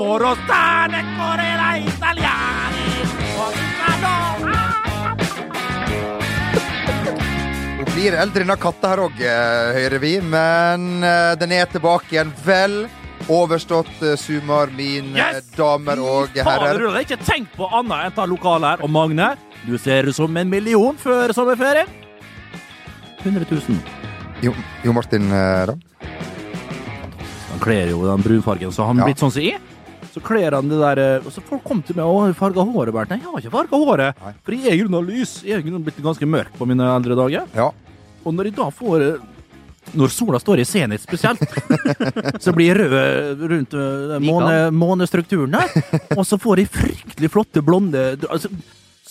Orostane, Corella, Italiani Orostano, Hun blir eldre enn katta her òg, hører vi. Men eh, den er tilbake igjen. Vel overstått eh, sumar, mine Yes! damer og Fader, herrer. Rune, ikke tenk på annet enn ta lokal her. Og Magne, du ser ut som en million før sommerferien. 100 000. Jo, jo Martin, eh, da? Han kler jo den brunfargen, så han Ja. blitt sånn som jeg. Så kler han det der eh, og Så folk kom til meg og har farga håret, Bernt. Nei, jeg har ikke farga håret. Nei. For jeg er i grunnen lys. Jeg er i grunnen blitt ganske mørk på mine eldre dager. Ja. Og når jeg da får eh, Når sola står i senit spesielt, så blir jeg rød rundt eh, den måne, månestrukturen der. Og så får jeg fryktelig flotte blonde altså,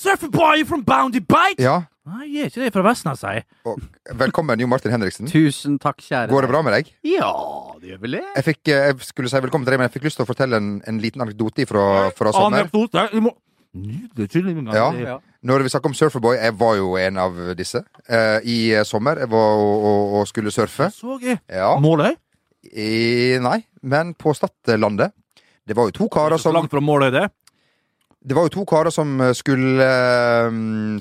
Surferboy from Bounty Bike! ja. Nei, jeg er ikke det fra Vestnes, jeg. Og, velkommen, Jo Martin Henriksen. Tusen takk, kjære. Går det bra med deg? Ja, det gjør vel det. Jeg, fikk, eh, jeg skulle si velkommen til deg, men jeg fikk lyst til å fortelle en, en liten anekdote fra, fra sommer. Anekdote. Du må- Nydelig kylling. Ja. Det- Når vi snakker om Surferboy, jeg var jo en av disse eh, i eh, sommer. Jeg var og, og, og skulle surfe. Så jeg. Ja. Måløy? I, nei, men på Stadlandet. Det var jo to karer Så som langt fra Måløy, det. Det var jo to karer som skulle eh,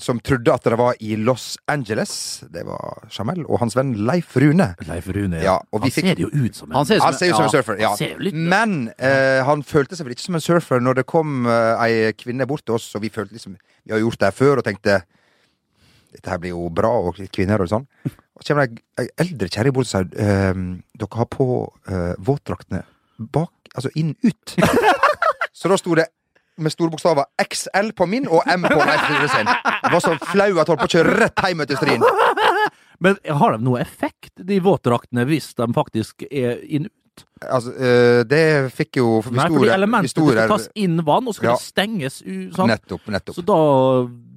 Som trodde at det var i Los Angeles. Det var Jamel og hans venn Leif Rune. Leif Rune. Ja, og vi han fikk ser jo ut som en Han ser ut Han som, ser jo som en surfer, ja. Han ser jo litt Men eh, han følte seg vel ikke som en surfer når det kom eh, ei kvinne bort til oss, og vi følte liksom Vi har gjort det her før, og tenkte Dette her blir jo bra, og litt kvinner og sånn. Og så kommer det ei- ei eldre kjerre bort og sier eh, Dere har på eh, våtdraktene bak Altså inn ut. så da sto det med store bokstaver XL på min og M på Leif Rune sin. Jeg var så flau at jeg holdt på å kjøre rett hjem til Stryn. Men har de noe effekt, de våtdraktene, hvis de faktisk er inn ut? Altså, eh, det fikk jo vi Nei, sto fordi der- vi elementet sto skal der- tas inn vann, og skal Ja. det stenges u- sant? Nettopp, nettopp. Så da,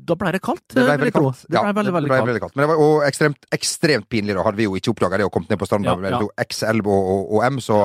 da ble det kaldt. eh, Det ble vil veldig jeg tro. kaldt. Det ble Ja, veldig, det veldig ble kaldt. veldig kaldt. Men det var og ekstremt, ekstremt pinlig, da. Hadde vi jo ikke oppdaga det og kommet ned på stranda Ja, med ja. to XL og, og, og M, så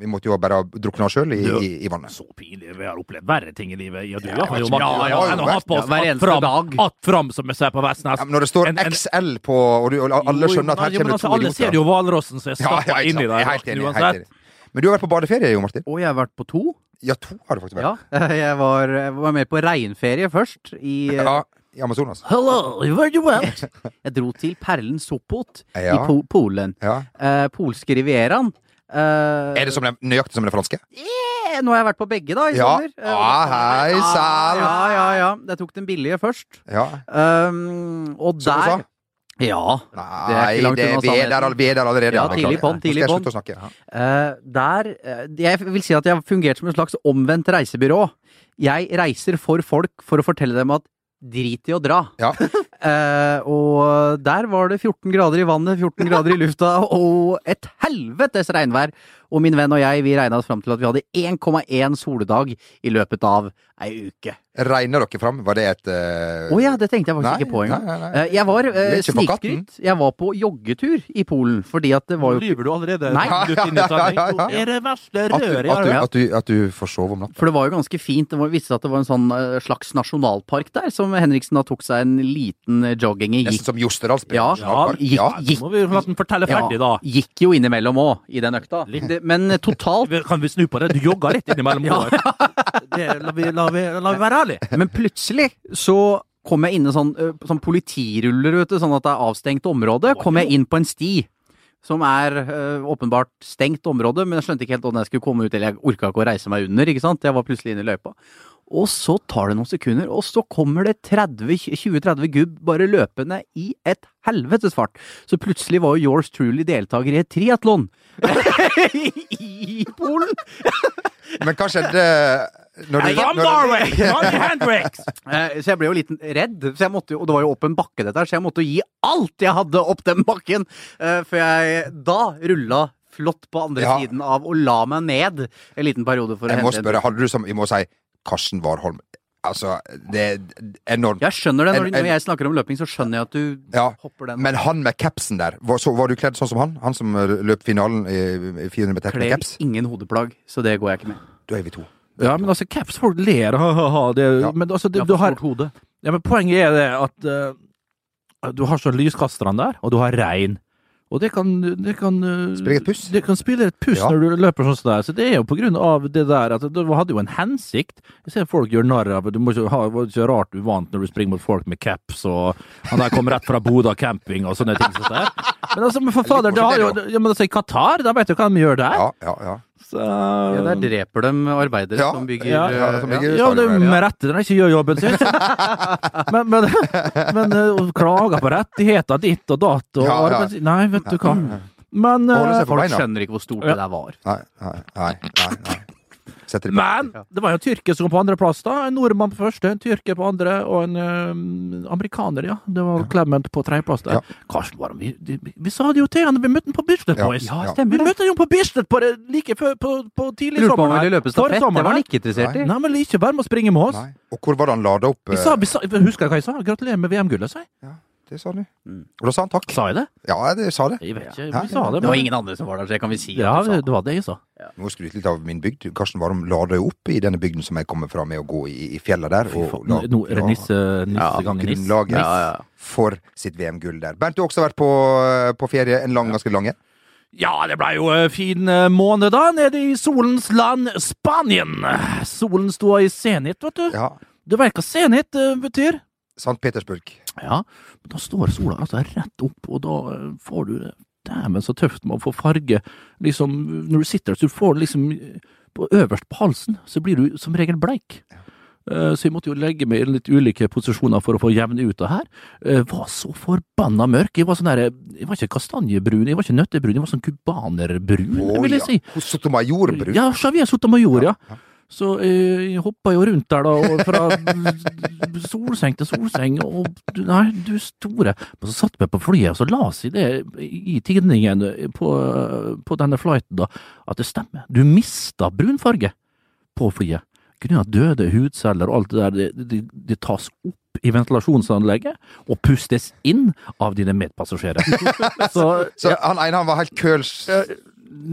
vi måtte jo bare ha drukna oss sjøl i, i, i vannet. Så pinlig. Vi har opplevd verre ting i livet. Ja, du Ja, har jo ja, Martin, ja, ja, har jo ja, hatt på oss ja, hver att eneste fram, dag. att fram, som vi ser på Vestnes. Ja, men når det står En- en- XL på, og, du, og Jo, alle skjønner at men- her ja, men kommer det altså, to Alle ser idioter. jo hvalrossen som er Ja, stappa ja, ikke sant. inni Jeg der. er helt enig. Helt uansett. enig. Men du har vært på badeferie, Jo Martin. Og jeg har vært på to. Ja, to har du faktisk vært. Ja, jeg var, jeg var med på regnferie først. I, Ja, eh, I Amazonas. Hello, where you went? jeg dro til perlen Sopot i Ja. po Polen. Ja. Eh, polske rivieraen. Eh, Er det som den, nøyaktig som den franske? eh, nå har jeg vært på begge, da, i Ja. sommer. Eh, Ah, hei sann! ja, ja, ja. Jeg tok den billige først. Ja. Um, og Som du sa? der Ja. Nei, langt det, unna vi er der, sannheten. all- vi er der allerede. Ja, beklager. tidlig på'n, tidlig Nå skal jeg på'n. slutte å snakke. Eh, der eh, Jeg vil si at jeg fungerte som en slags omvendt reisebyrå. Jeg reiser for folk for å fortelle dem at drit i å dra. Ja. Eh, og der var det 14 grader i vannet, 14 grader i lufta og et helvetes regnvær. Og min venn og jeg, vi regna oss fram til at vi hadde 1,1 soledag i løpet av ei uke. Regner dere fram? Var det et eh, Å ja, det tenkte jeg faktisk nei, ikke på engang. nei, nei, nei. Eh, Jeg var eh, Det er ikke for katten. snikskryt. Jeg var på joggetur i Polen, fordi at det var jo Lyver du allerede? Nei. Du er inne i sending. Ja, ja, ja, ja. Det er det verste At du, røret jeg at, du, har hørt. at, du, at du får sove om natta. For det var jo ganske fint. Det var, viste seg at det var en sånn eh, slags nasjonalpark der, som Henriksen da tok seg en liten eh, jogging i. Nesten Gikk, som Jostedalsbreen. Ja, nasjonalpark. gikk- ja. Nå må vi la den fortelle ja, ferdig, da. gikk jo innimellom òg, i den økta. Det, men eh, totalt Vi- Kan vi snu på det? Du jogga litt innimellom. Det, la, vi, la, vi, la vi være ærlige. Men plutselig så kom jeg inn i sånn, eh, sånn politiruller, vet du, sånn at det er avstengt område. Kom jeg inn på en sti. Som er eh, åpenbart stengt område, men jeg skjønte ikke helt hvordan jeg skulle komme ut. Eller jeg orka ikke å reise meg under, ikke sant. Jeg var plutselig inne i løypa. Og så tar det noen sekunder, og så kommer det 30 20-30 gubb bare løpende i et helvetes fart. Så plutselig var jo yours truly deltaker i et triatlon. I Polen! Men hva skjedde eh, når Hey, du, I'm når, Norway! Johnny Hendrix! Eh, Så jeg ble jo litt redd, så jeg måtte jo, og det var jo opp en bakke dette her, så jeg måtte jo gi alt jeg hadde opp den bakken, eh, for jeg da rulla flott på andre Ja. siden av og la meg ned en liten periode for Jeg å må hente en- spørre, hadde du som Vi må si Karsten Warholm. Altså, det er enormt. Jeg skjønner det, når, En- når en- jeg snakker om løping, så skjønner jeg at du Ja, hopper den. Men han med capsen der, var, så, var du kledd sånn som han? Han som eh, løp finalen i i 400 meter med Kler caps? ingen hodeplagg, så det går jeg ikke med. Da er vi to. Ja, men altså, caps folk ler, ha-ha-ha. Ja. Men altså, det, Jeg har du for har stort hode. Ja, men poenget er det at eh, du har så lyskasterne der, og du har regn. Og det kan, det kan eh, Spille et puss? Det kan spille et puss Ja. når du løper sånn som det er. Så det er jo på grunn av det der at det hadde jo en hensikt. Jeg ser folk gjør narr av det. Du må ikke ha det var ikke rart du vant når du springer mot folk med caps og han der kom rett fra Bodø camping og sånne ting som det er. Men altså, men for fader, det har jo ja, men altså, i Qatar, da vet du hva de gjør der. Ja, ja, ja. Så, Ja, der dreper de arbeidere Ja, som bygger eh, ja, ja, som bygger- Ja, men det er jo med rette når de ikke gjør jobben sin. Men, men, men eh, og klager på rettigheter ditt og datt og Ja, ja. arbeids... Nei, vet du hva. Men, Holde eh, seg på Folk beina. skjønner ikke hvor stort Ja. det der var. Nei, nei, nei. nei, nei. Setter de på. men det var jo en tyrker som kom på andreplass, da. En nordmann på første, en tyrker på andre og en eh, amerikaner, ja. Det var Clement på tredjeplass der. Ja. Karsten var vi, de- vi, vi sa det jo til han, vi møtte han på Bislett Ja, Boys. ja. Ja, Vi møtte han på Bislett på det like før på, på tidlig Lurer på om sommer. han ville løpe stafett. Det var han ikke interessert i. Nei, men ikke vær med å springe med oss. Nei. Og hvor var det han lada opp? Vi sa, eh, vi sa, husker jeg hva jeg sa? Gratulerer med VM-gullet, sa jeg. Det sa han jo. Mm. Og da sa han takk. Sa jeg det? Ja, det sa det. Jeg vet ikke, Hæ? vi sa det. Det var Men... ingen andre som var der, så det kan vi si. at Ja, du sa. det var det jeg sa. Nå skryter jeg litt av min bygd. Karsten Warholm lada jo opp i denne bygden som jeg kommer fra, med å gå i, i fjellet der. Og la- Nå er det nisse, Ja, nissegangen niss. grunnlaget Ja, ja. for sitt VM-gull der. Bernt, du har også vært på, eh, på ferie en lang, ganske lang en. Ja, det ble jo en fin eh, måned da, nede i solens land, Spanien. Solen sto i senit, vet du. Ja. Du vet hva senit eh, betyr? St. Petersburg. Ja, men da står sola altså rett opp, og da eh, får du det dæven så tøft med å få farge. Liksom, når du sitter der, så får du liksom eh, på øverst på halsen, så blir du som regel bleik. Eh, Så jeg måtte jo legge meg i litt ulike posisjoner for å få jevne ut det her. Eh, Var så forbanna mørk. Jeg var sånn der, jeg var ikke kastanjebrun, jeg var ikke nøttebrun, jeg var sånn cubanerbrun, Å, vil jeg ja. si. Hos Sotomayor-bruk. Ja, Javier Sotomayor, ja. Ja, ja. Så eh, jeg hoppa jo rundt der, da, og fra solseng til solseng, og du- nei, du store. Men så satt vi på flyet, og så las jeg det i tidningen på, på denne flighten, da, at det stemmer. Du mista brunfarge på flyet. Grunnet døde hudceller og alt det der, det, det, det tas opp i ventilasjonsanlegget og pustes inn av dine medpassasjerer. Så Så han ene han var helt køls. ja,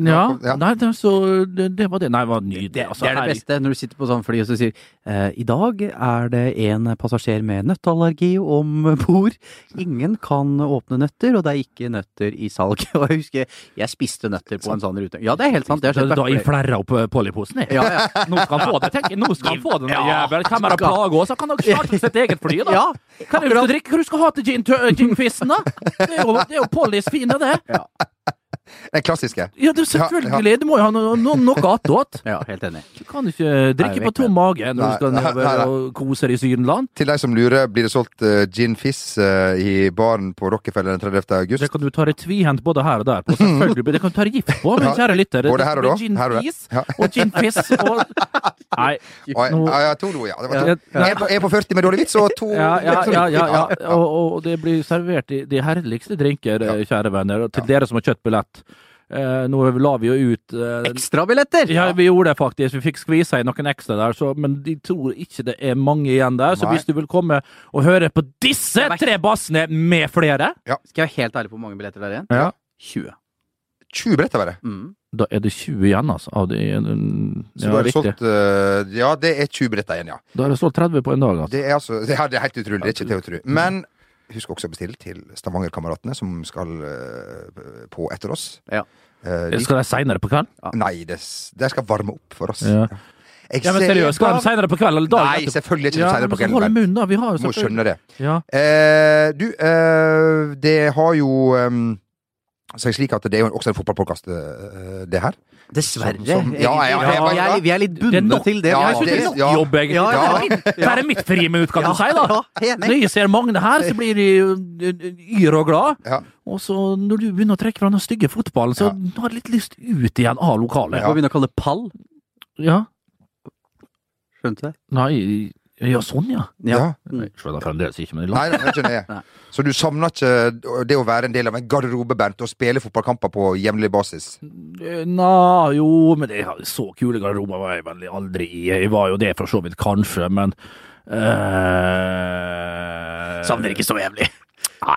Ja. Nei, det, så det, det var det. Nei, det var nydelig. Det, Altså, det er det herregud. beste når du sitter på sånn fly og så sier eh, I dag er det en passasjer med nøtteallergi om bord. Ingen kan åpne nøtter, og det er ikke nøtter i salg. Og jeg husker jeg spiste nøtter på en sånn rute. Ja, det er helt sant. Det har Da, skjedd da meg jeg flere- flerra opp eh, Polly-posen, jeg. Ja, ja. Nå skal han få det, tenk. Nå skal han få det, den Ja. jævelen. Hvem er det plager også? Så kan dere starte sitt eget fly, da. Ja, Hva er det du skal drikke? Hva er det du skal ha til gin- tø- ginfisten, da? Det er jo, det er jo Pollys fine, det. Den klassiske. Ja, det er selvfølgelig. Du må jo ha no, no, noe attåt. ja, helt enig. Du kan ikke Nei, drikke på vekk med tom mage når Nei, du skal nei, nei, nedover nei. og kose deg i Sydenland. Til deg som lurer, blir det solgt eh, gin fizz eh, i baren på Rockefeller den 30. august? Det kan du ta deg tvihendt både her og der på. Selvfølgelig. Det kan du ta deg gift på, min Mm. Ja. kjære lytter. Både her og da. Gin Her og der. fizz Ja. og gin fizz og Nei. Oi, nå- ja, ja, to do, ja. Det var to. Ja, ja. Jeg, er på, jeg er på 40 med dårlig vits, og to liksom- Ja, ja, ja, ja, ja. ja. Og, og det blir servert i de herligste drinker, eh, kjære venner, og til dere som har kjøttbillett. Eh, nå la vi jo ut eh, Ekstrabilletter! ja, vi gjorde det faktisk. Vi fikk skvisa inn noen ekstra der, så, men de tror ikke det er mange igjen der. Så Nei. hvis du vil komme og høre på disse tre bassene med flere, Skal jeg være helt ærlig på hvor mange billetter det er igjen? Ja. 20. 20 billetter var det. Mm. da er det 20 igjen, altså. Av de, Så ja, da er det riktig. solgt eh, Ja, det er 20 billetter igjen, ja. Da er det solgt 30 på en dag, altså. Det er altså det er, det er helt utrolig. Det er ikke til å tro. Men husk også å bestille til Stavanger-kameratene som skal eh, på etter oss. Ja. Eh, de, Skal de seinere på kvelden? Nei, det, s- de skal varme opp for oss. Ja. Jeg Ja, men ser- seriøst, skal de seinere på kvelden eller dagen? Nei, etterpå? selvfølgelig ikke ja, senere på men så kvelden. Hold men munn, da. Vi har jo Må skjønne det. Ja. Eh, du, eh, det har jo ehm, seg slik at det er jo også en fotballpodkast, eh, det her. Dessverre. Som- som- ja, jeg- egentlig. jeg- Ja, vi er litt Det er bundet nok- til det. Ja, jeg synes det- det er nok jobb, egentlig. Ja, ja, Det er- Det er mitt friminutt, kan du si, da. Ja, Når enig. jeg ser Magne her, så blir de jo, ø, ø, yr og glad. Ja. Og så når du begynner å trekke fra den stygge fotballen, så har jeg litt lyst ut igjen av Jeg lokalet. får begynne å kalle det pall. Ja. Skjønte jeg. Nei, ja, sånn, ja. Ja. Nei, skjønner fremdeles ikke, men det er langt. Nei, det skjønner jeg. Nei. Så du savner ikke det å være en del av en garderobe, Bernt, og spille fotballkamper på jevnlig basis? Eh, Nja, jo, men det så kule garderober var jeg vel aldri i. Jeg var jo det for så vidt, kanskje, men eh, Savner ikke så jævlig. Nei.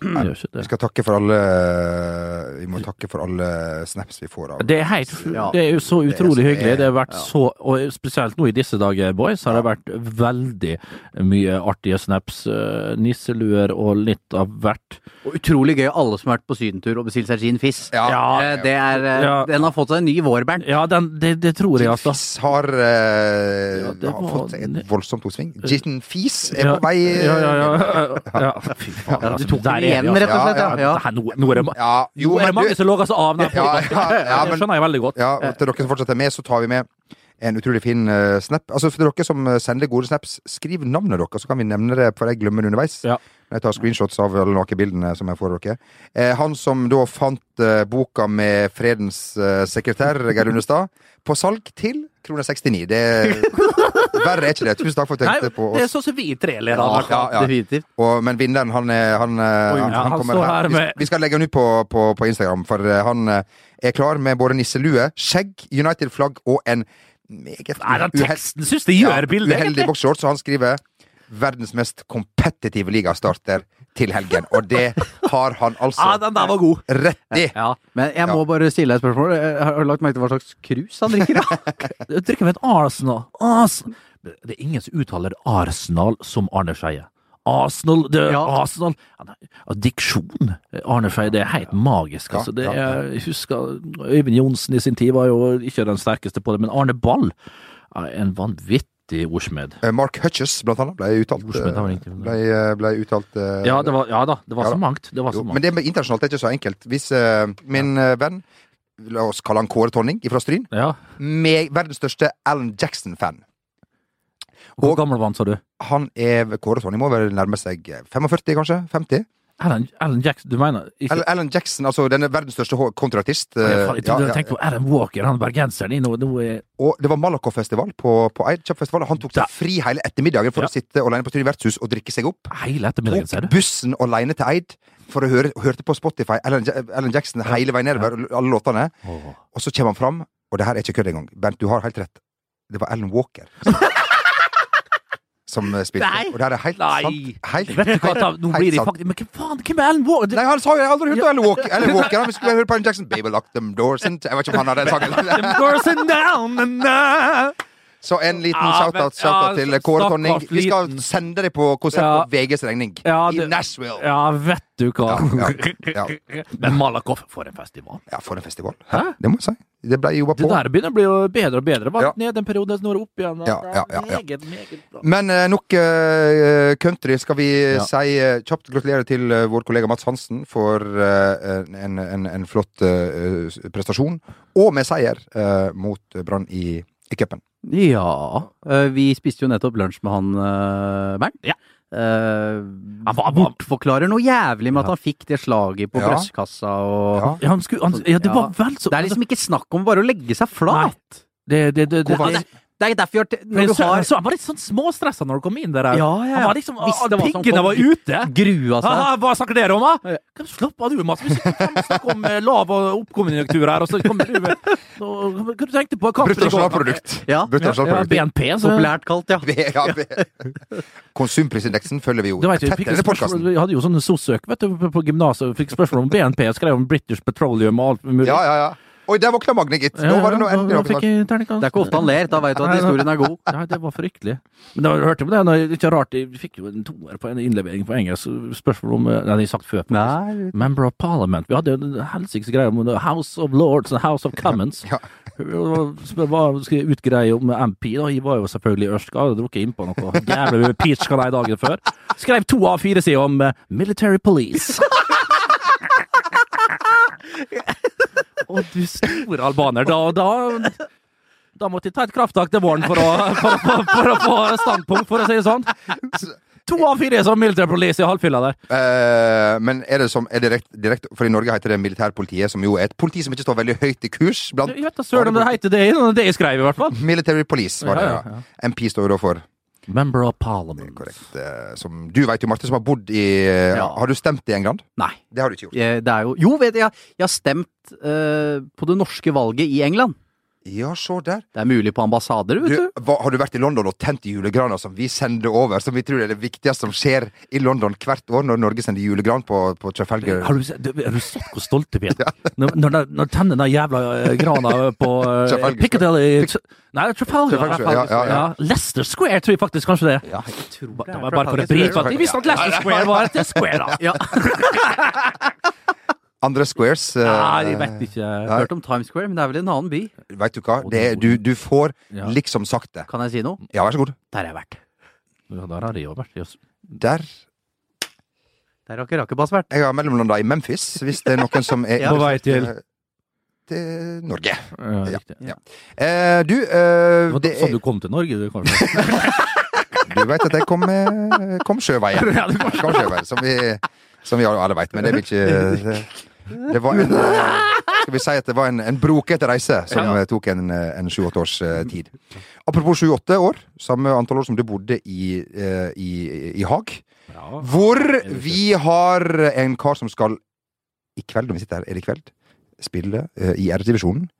Nei, gjør ikke Vi det. skal takke for alle eh, Vi må takke for alle snaps vi får av Det er, helt, Ja. det er jo så er utrolig så- hyggelig. Det har vært Ja. så, og spesielt nå i disse dager, boys, har det vært veldig mye artige snaps. eh, Nisseluer og litt av hvert. Og utrolig gøy alle som har vært på sydentur og bestilt seg ginfiss. Ja. Eh, det er, eh, Ja. Den har fått seg en ny vårbæren. Ja, den, det, det tror jeg, altså. Ginfis har, eh, Ja, det har var- fått et voldsomt oppsving. Ginfis er Ja. på vei eh, Ja, ja, ja. ja. Fy faen. Ja, altså, du tok der den er vi, igjen, altså. rett og slett. Ja, Ja, Det her, nå, nå er det, ma- Ja, jo, nå er det men mange du, som logger seg av. denne Ja, podcasten. ja, ja, det men- skjønner jeg veldig godt. ja, og til dere som fortsetter med, så tar vi med en utrolig fin eh, snap. Altså, for dere som eh, sender gode snaps, skriv navnet deres, så kan vi nevne det, for jeg glemmer det underveis. Ja. Når jeg tar screenshots av alle nakebildene som jeg får av dere. Eh, han som da fant eh, boka med Fredens eh, sekretær, Geir Understad, på salg til kroner 69. Det Verre er ikke det. Tusen takk for at du Nei, tenkte på det er oss. sånn som vi tre ler Ja, av. ja, ja. Definitivt. Og, men vinneren, han, er- han, eh, han, ja, han han kommer står her. her med- Vi, vi skal legge han ut på, på, på Instagram, for eh, han eh, er klar med både nisselue, skjegg, United-flagg og en meget Nei, den uhel- teksten syns det gjør bildet, ja, uheldig egentlig. boksshorts, så han skriver verdens mest kompetitive ligastarter til helgen. Og det har han Ja, altså den der var god. rett i! Ja. Men jeg må bare stille deg et spørsmål. Eh, Har du lagt merke til hva slags krus han drikker? da? Jeg drikker med et Arsenal. Arsenal. Det er ingen som uttaler Arsenal som Arne Skeie. Arsenal, det er Ja. Arsenal Ja, nei, altså, Diksjon Arne Skeie, det er helt magisk, altså. Det Ja, ja, er, jeg husker Øyvind Johnsen i sin tid var jo ikke den sterkeste på det, men Arne Ball er en vanvittig ordsmed. Eh, Mark Hutches, blant annet, ble uttalt, Ordsmed, han var ikke- eh, ble, eh, ble uttalt eh, Ja, det var, ja da, det var Ja så da. mangt. Det var så jo, Men mangt. det med internasjonalt er ikke så enkelt. Hvis eh, min eh, venn, la oss kalle han Kåre Tonning fra Stryn, Ja. med verdens største Alan Jackson-fan. Hvor Og- gammel var han, sa du? Han er Kåre Tonning må vel nærme seg eh, 45, kanskje? 50? Alan, Alan Jackson, du mener ikke Al- Alan Jackson, altså denne verdens største hå- kontratist. eh, Jeg faen, jeg trodde ja, du tenkte på Alan Walker, han bergenseren. i Nå, nå er Og det var Malakoff-festival på, på Eidkjapp-festival. Han tok Da- seg fri hele ettermiddagen for Ja. å sitte alene på Tryne vertshus og drikke seg opp. hele ettermiddagen, ser Tok du. bussen alene til Eid for å høre, hørte på Spotify Alan, Ja- Alan Jackson hele veien nedover, alle låtene. Åh. Og så kommer han fram, og det her er ikke kødd engang. Bernt, du har helt rett. Det var Alan Walker som eh, spilte. Nei. Og det her er helt Nei. sant. Helt, Vet du hva, ta, nå Helt blir de sant. faktisk Men hva faen, hvem er Alan Walker? Nei, han sa jo jeg har aldri hørt om Alan Walker. Alan Walker han skulle bare høre på Alan Jackson. Baby lock them doors and Jeg vet ikke om han hadde den sangen. eh, Så en liten Ja, shoutout, men- ja, shoutout til Kåre stakkars Tonning. Vi skal liten. sende deg på konsert Ja. på VGs regning. Ja, det- I Nashville. Ja, Ja. vet du hva. Ja, ja, Men Malakoff, for en festival. for en festival. Det må jeg si. Det ble jobba Det på. der begynner å bli jo bedre og bedre. Vært Ja. ned en periode, nå er det opp igjen. Ja, Det er ja, ja, ja. Meget, meget bra. Men eh, nok eh, country. Skal vi Ja. si eh, kjapt gratulerer til eh, vår kollega Mats Hansen for eh, en, en, en flott eh, s- prestasjon, og med seier eh, mot Brann i, i cupen. Ja. eh, Vi spiste jo nettopp lunsj med han eh, Bernt. Ja. Eh, Han var- bortforklarer noe jævlig med at han fikk det slaget på Ja. brystkassa og Ja, Ja. han skulle, han, ja, det Ja. var vel så altså, Det er liksom ikke snakk om bare å legge seg flat. det, det, det, det, Hvorfor- det, Det er derfor jeg har t- når du så, har så Han var litt sånn småstressa når han kom inn der. Ja, ja, Han ja. var liksom, Visste ah, hva som Piggene kom. var ute! grua seg. Haha, hva snakker dere om, da? Altså, Ja. Hva Slapp av du, Mats. Vi sitter og snakker om eh, lav- og oppkonjunktur her, og så kommer du med Nå- Hva du tenkte du på? Kampen i går, Bruttonasjonalprodukt. Ja. Ja, Bruttonasjonalprodukt. BNP, så Populært kalt, ja. Ja, vi- Konsumprisindeksen følger vi jo Det vet tett du, vi, i fikk denne spørsmål, podkasten. vi hadde jo sånne sossøk vet du, på- på gymnaset og fikk spørsmål om BNP. Jeg skrev om British Petroleum og alt mulig. Ja, ja, ja. Oi, der våkna Magne, gitt. Nå var det noe Ja, endelig da noe fikk jeg terningkast. Det er ikke ofte han ler, da veit du at historien er god. Nei, det var fryktelig. Men da hørte jeg på det. Når, det er ikke rart, Vi fikk jo en toer på en innlevering på engelsk. så Spørsmål om eh, Nei, det har jeg sagt før. Nei, Member of Parliament. Vi hadde jo en helsikes greie om the House of Lords and House of Commons. Ja. Og Spør hva skal jeg utgreie om MP, da. Jeg var jo selvfølgelig ørska, hadde drukket innpå noe jævlig mye peach kanai dagen før. Skrev to av fire sider om eh, Military Police. Å, du store albaner. Da, da da måtte jeg ta et krafttak til våren for å, for, å- for, for å få standpunkt, for å si det sånn. To av fire er som Military Police i halvfylla der. Eh, men er det som er direkte direkt, For i Norge heter det militærpolitiet, som jo er et politi som ikke står veldig høyt i kurs blant Jeg vet da søren om det heter det, det jeg skrev i hvert fall. Military Police, var det. Ja, ja, Ja. MP står jo da for Member of Parliament. korrekt. eh, som du vet jo, Marte, som har bodd i eh, Ja. Har du stemt i England? Nei. Det har du ikke gjort. Eh, Det er jo Jo, vet jeg, jeg har stemt eh, på det norske valget i England. Ja, se der. Det er mulig på ambassader, Du, vet du. hva, har du vært i London og tent i julegrana som vi sender over, som vi tror er det viktigste som skjer i London hvert år når Norge sender julegran på, på Trafalgar? Har du, sett- du- har du sett hvor stolte vi er? Når, når, de- når tenner den jævla eh, grana på eh, Trafalgar Piccadilly Nei, Trafalgar. Trafalgar Square, ja, ja, ja. Leicester Square tror jeg faktisk kanskje det er. Ja, Det var bare for å bryte for at de visste at Leicester Square var et square, da. Ja, Andre squares eh, Nei, jeg vet ikke. Hørt om Times Square, men det er vel en annen by. Vet du hva? Det, er- du, du får Ja. liksom sagt det. Kan jeg si noe? Ja, vær så god. Der har jeg vært. Ja, der har de jo vært. Jøss. Der Der har ikke Rakebass vært. Jeg har mellomlanda i Memphis, hvis det er noen som er Ja. På vei til? Eh, til Norge. Ja, Ja. riktig. Eh, du, eh, Det var det sånn er, du kom til Norge, du, kanskje? du veit at jeg kom, eh, kom sjøveien. Ja, du kom- Kom sjøveien, som vi, som vi alle veit, men det vil ikke det, det var en eh, Skal vi si at det var en, en brokete reise som Ja. eh, tok en, eh, en sju-åtte års eh, tid. Apropos sju-åtte år, samme antall år som du bodde i, eh, i, i Haag. Ja. Hvor vi har en kar som skal I kveld, når vi sitter her, er det i kveld? Spille eh, i R-divisjonen.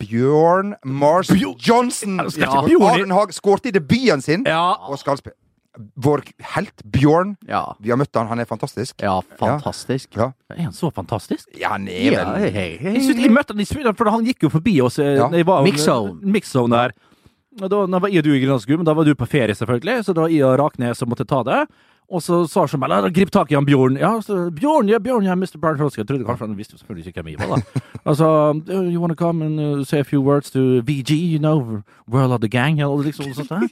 Bjørn Mars Johnson! Ja, skal ikke Ja. Bjørn- Arne Haag skårte i debuten sin Ja. og skal spille. Vår helt Bjørn. Ja, Vi har møtt han, han er fantastisk. ja fantastisk. Ja. Er han så fantastisk? Ja, han er Ja, vel hei, hei. Jeg synes jeg møtte han i Sweden, for han gikk jo forbi oss. eh, Ja. når jeg var- Mixzone. Mixzone der. Og Da, da var jeg og du i Grønlandsku, men da var du på ferie, selvfølgelig, så det var jeg og Raknes som måtte ta det. Og så sa Jamal «Ja, da grip tak i han Bjørn. Ja, så, Bjørn, ja, Bjørn, ja, Mr. Bjørn Frosk. Jeg trodde kanskje han visste jo selvfølgelig ikke hvem jeg var, da. Altså, «Do you wanna come and uh, say a few words to VG, you know, World of the Gang, eller liksom sånt der? No,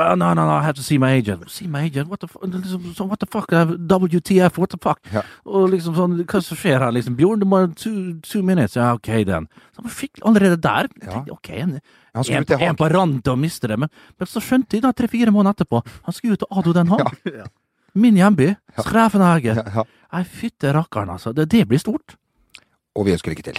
Ah, no, no, no, I have to see my agent. See my agent? What the, fu- liksom, so what the fuck? uh, WTF, what the fuck? Ja. Og liksom sånn, hva som skjer her, liksom? Bjørn, du må ha two, two minutes. Ja, ok, den. Så man fikk allerede der. Ja. Ok, en, Han skulle en, ut til en Haag. på randen til å miste det, men, men så skjønte jeg da tre-fire måneder etterpå. Han skulle ut til Ado Den Haag. Min hjemby. Skrevenhage. Ja, ja. Nei, fytte rakkeren, altså. Det, det blir stort. Og vi ønsker lykke til.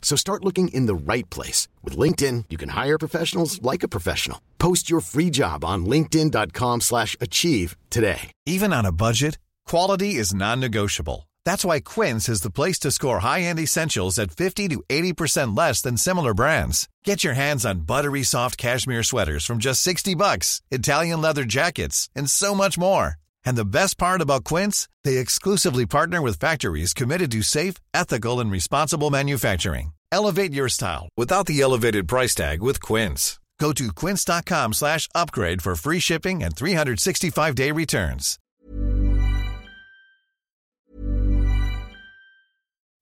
So start looking in the right place. With LinkedIn, you can hire professionals like a professional. Post your free job on linkedin.com/achieve slash achieve today. Even on a budget, quality is non-negotiable. That's why Quince is the place to score high-end essentials at 50 to 80% less than similar brands. Get your hands on buttery soft cashmere sweaters from just 60 bucks, Italian leather jackets, and so much more. And the best part about Quince, they exclusively partner with factories committed to safe, ethical, and responsible manufacturing. Elevate your style without the elevated price tag with Quince. Go to quince.com slash upgrade for free shipping and 365-day returns.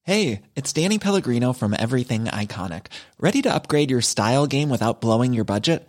Hey, it's Danny Pellegrino from Everything Iconic. Ready to upgrade your style game without blowing your budget?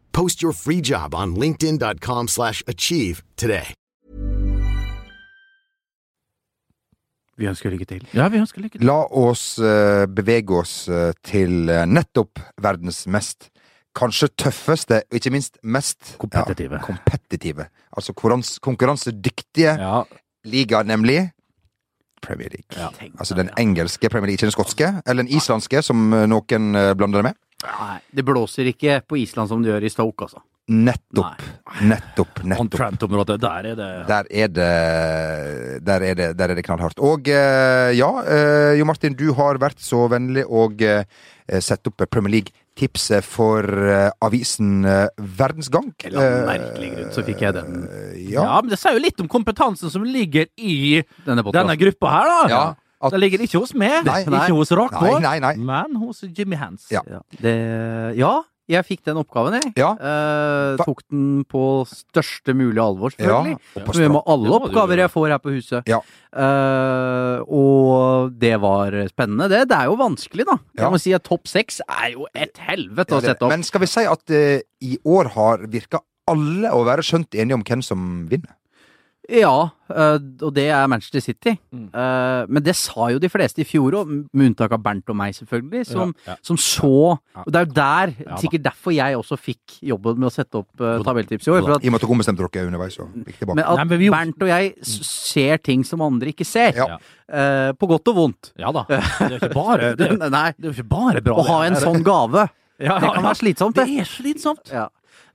Post your free job on linkedin.com/achieve slash achieve today. Vi ønsker lykke til. Ja, vi ønsker lykke til. La oss eh, bevege oss eh, til eh, nettopp verdens mest, kanskje tøffeste, og ikke minst mest Kompetitive. Ja, kompetitive. Altså konkurrans- konkurransedyktige Ja. liga, nemlig Premier League. Tenk Altså deg den det. engelske Premier League, ikke den skotske, eller den islandske, som eh, noen eh, blander det med. Nei, det blåser ikke på Island som det gjør i Stoke, altså. Nettopp. Nettopp. On Nettopp. Trent-området, der er det Der er det Der er det, der er det knallhardt. Og eh, ja, eh, Jo Martin, du har vært så vennlig å eh, sette opp Premier League-tipset for eh, avisen eh, Verdens Gang. En eller annen merkelig grunn, så fikk jeg den. Eh, Ja. ja. men det sier jo litt om kompetansen som ligger i Denne podcasten. denne gruppa her, da. Ja, at- Det ligger ikke hos meg, Nei. ikke hos Rakvåg, Nei, nei, nei. men hos Jimmy Hands. Ja. Ja, det, ja jeg fikk den oppgaven, jeg. Ja. Eh, Hva- tok den på største mulige alvor, Ja, selvfølgelig. og på Som jeg stra- med alle Det må du oppgaver gjøre. jeg får her på huset. Ja. Eh, og det var spennende, det. Det er jo vanskelig, da. Ja. Jeg må si at topp seks er jo et helvete Ja, å det- sette opp. Men skal vi si at eh, i år har virka alle å være skjønt enige om hvem som vinner? Ja, eh, og det er Manchester City. Mm. Eh, Men det sa jo de fleste i fjor òg, med unntak av Bernt og meg, selvfølgelig, som, Ja, ja. som så Ja. Og det er jo der, Ja da. sikkert derfor jeg også fikk jobben med å sette opp eh, tabelltips i Jo år. da. For at, I og med at dere ombestemte dere underveis. Og gikk tilbake. men at Nei, men vi- Bernt og jeg s- ser ting som andre ikke ser. Ja. Eh, på godt og vondt. Ja da. Det er jo ikke bare, det er, jo- Nei, det er jo ikke bare bra. å ha det en her. sånn gave, Ja, det ja, kan ja. være slitsomt, Det det. er slitsomt. Ja.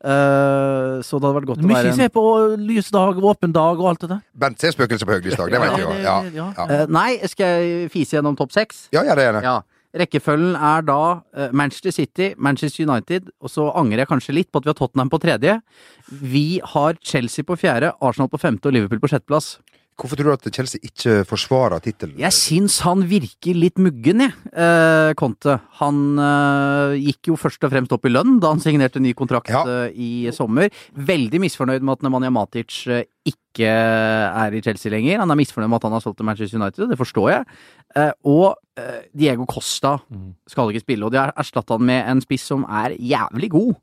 Eh, så det hadde vært godt å Mye være en se på lys dag, åpen dag og alt det der. Bent ser spøkelser på høylysdag, det vet Ja, vi jo. det- Ja, ja. ja. Eh, Nei, skal jeg fise gjennom topp seks? ja, ja, det er det. Ja. Rekkefølgen er da eh, Manchester City, Manchester United, og så angrer jeg kanskje litt på at vi har Tottenham på tredje. Vi har Chelsea på fjerde, Arsenal på femte og Liverpool på sjetteplass. Hvorfor tror du at Chelsea ikke forsvarer tittelen? Jeg syns han virker litt muggen, jeg, eh, Conte. Han eh, gikk jo først og fremst opp i lønn da han signerte ny kontrakt Ja. eh, i sommer. Veldig misfornøyd med at Nemanja Matic eh, ikke er i Chelsea lenger. Han er misfornøyd med at han har solgt til Manchester United, og det forstår jeg. Eh, og eh, Diego Costa skal ikke spille, og de har erstatta han med en spiss som er jævlig god,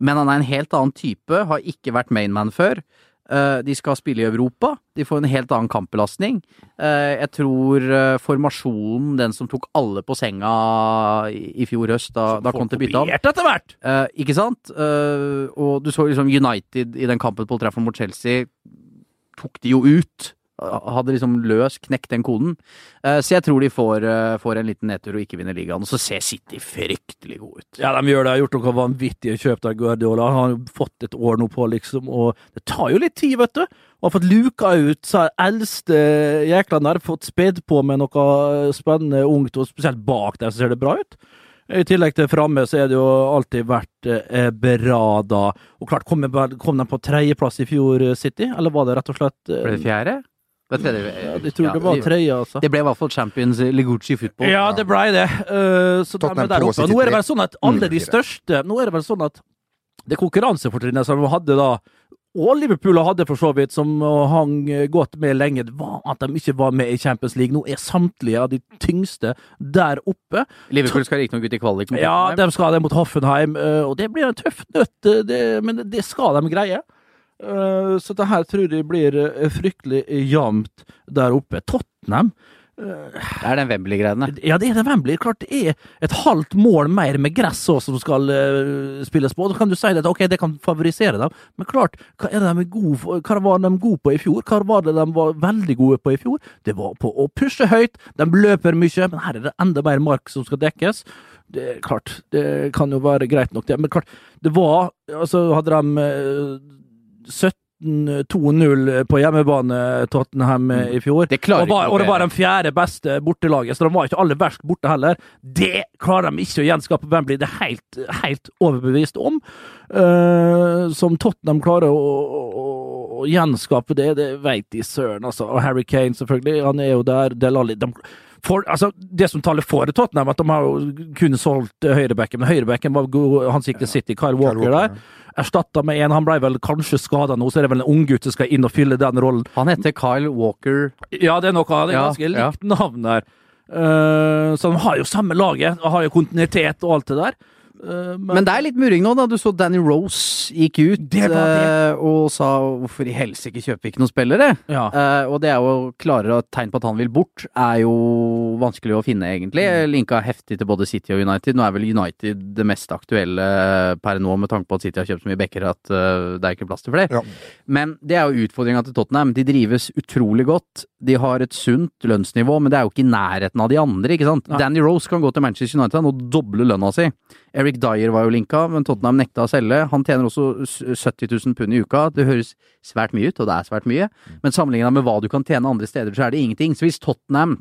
men han er en helt annen type, har ikke vært mainman før. Eh, De skal spille i Europa. De får en helt annen kampbelastning. Eh, Jeg tror eh, formasjonen, den som tok alle på senga i i fjor høst, da, da kom til bytte av Kopiert etter hvert! Eh, ikke sant? Eh, og du så liksom United i den kampen på Old Trafford mot Chelsea. Tok de jo ut. Hadde liksom løs knekt den koden. Eh, så jeg tror de får, eh, får en liten nedtur og ikke vinner ligaen. Og så ser City fryktelig gode ut. Ja, de gjør det. Jeg har gjort noen vanvittige kjøp der, Guardiola. Han har jo fått et år nå på, liksom, og det tar jo litt tid, vet du. Og har fått luka ut så her eldste jæklene der, fått spedd på med noe spennende ungt, og spesielt bak der så ser det bra ut. I tillegg til framme så er det jo alltid vært eh, bra, da. Og klart, kom, de- kom de på tredjeplass i fjor, eh, City? Eller var det rett og slett eh, Ble det fjerde? Det, var tredje, Ja, jeg tror det var tredje, altså. Det ble i hvert fall Champions Ligucci football. Ja, det blei det. Eh, så de Tottenham er der to og oppe. Nå er det vel 73. sånn at alle de Mm. største Nå er det vel sånn at det konkurransefortrinnet som de hadde da, og Liverpool hadde for så vidt, som hang godt med lenge, det var at de ikke var med i Champions League. Nå er samtlige av de tyngste der oppe. Liverpool skal riktignok ut i kvalik. mot Ja, Tottenham. de skal det mot Hoffenheim, eh, og det blir en tøff nøtt, eh, det, men det skal de greie. Eh, Så det her tror jeg blir eh, fryktelig jevnt der oppe. Tottenham det er den Wembley-greiene. ja, det er det Wembley. Klart det er et halvt mål mer med gress også som skal eh, spilles på. Da kan du si det at ok, det kan favorisere dem, men klart, hva, er de gode for, hva var de gode på i fjor? Hva var det de var veldig gode på i fjor? Det var på å pushe høyt, de løper mye, men her er det enda mer mark som skal dekkes. Det er klart, det kan jo være greit nok, det, men klart, det var Altså, hadde de eh, 17-2-0 på hjemmebane, Tottenham, eh, i fjor. Det klarer og, var, ikke og det dere. var de fjerde beste bortelaget, så de var ikke aller verst borte heller. Det klarer de ikke å gjenskape. Hvem blir det er helt, helt overbevist om? Eh, som Tottenham klarer å, å, å gjenskape det, det veit de søren, altså. Og Harry Kane, selvfølgelig. Han er jo der. Del Alli de, for, altså, Det som taler for Tottenham, at de har jo kun solgt eh, høyrebacken. Men høyrebacken var god, han gikk til City. Kyle Walker, Walker, der. Erstatta med en, han ble vel kanskje skada nå, så er det vel en unggutt som skal inn og fylle den rollen. Han heter Kyle Walker. Ja, det er noe av det er Ja, ganske ja. likt navn der. Eh, så de har jo samme laget, og har jo kontinuitet og alt det der. Eh, Men det er litt murring nå, da. Du så Danny Rose gikk ut Det var det. eh, og sa 'hvorfor i helsike kjøper vi ikke noen spillere'? ja. Eh, og det er jo klarere tegn på at han vil bort, er jo vanskelig å finne, egentlig. Mm. Linka heftig til både City og United. Nå er vel United det mest aktuelle eh, per nå, med tanke på at City har kjøpt så mye backer at eh, det er ikke plass til flere. Ja. Men det er jo utfordringa til Tottenham. De drives utrolig godt. De har et sunt lønnsnivå, men det er jo ikke i nærheten av de andre, ikke sant. Nei. Danny Rose kan gå til Manchester United og doble lønna si. Eric Eric Dyer var jo linka, men Tottenham nekta å selge. Han tjener også s- 70 000 pund i uka. Det høres svært mye ut, og det er svært mye. Men sammenligna med hva du kan tjene andre steder, så er det ingenting. Så hvis Tottenham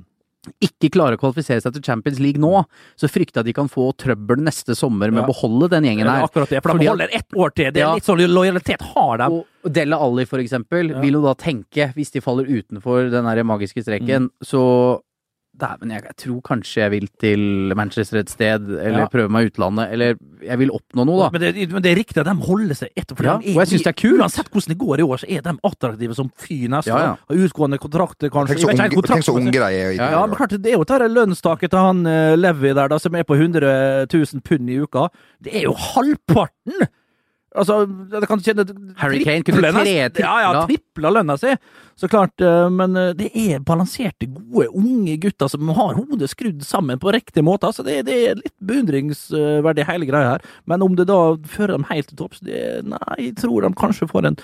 ikke klarer å kvalifisere seg til Champions League nå, så frykter jeg at de kan få trøbbel neste sommer med Ja. å beholde den gjengen Eller her. akkurat det, for Fordi de at- holder ett år til. Det er Ja. litt sånn lojalitet har de. Og Della Alli, for eksempel, vil jo da tenke, hvis de faller utenfor den der magiske Mm. streken, så Dæven, jeg, jeg tror kanskje jeg vil til Manchester et sted, eller Ja. prøve meg i utlandet, eller jeg vil oppnå noe, da. Men det, men det er riktig at de holder seg etter. for Ja, de er- og jeg synes det er kult. Uansett hvordan det går i år, så er de attraktive som fy neste Ja, ja. år. Har Utgående kontrakter, kanskje. Tenk så Jeg vet ikke, unge, tenk så kontrakter- unge de er. i Ja, dag, ja, da. men klart, Det er jo dette lønnstaket til han eh, Levi der, da, som er på 100 000 pund i uka. Det er jo halvparten! Altså, det kan tjene Harry Kane kunne triple tre- nesten- Ja, ja, tripla. tripla lønna si! Så klart, eh, men eh, det er balanserte, gode, unge gutter som har hodet skrudd sammen på riktig måte. Altså, det, det er litt beundringsverdig, eh, hele greia her. Men om det da fører dem helt til topps, det Nei, jeg tror de kanskje får en,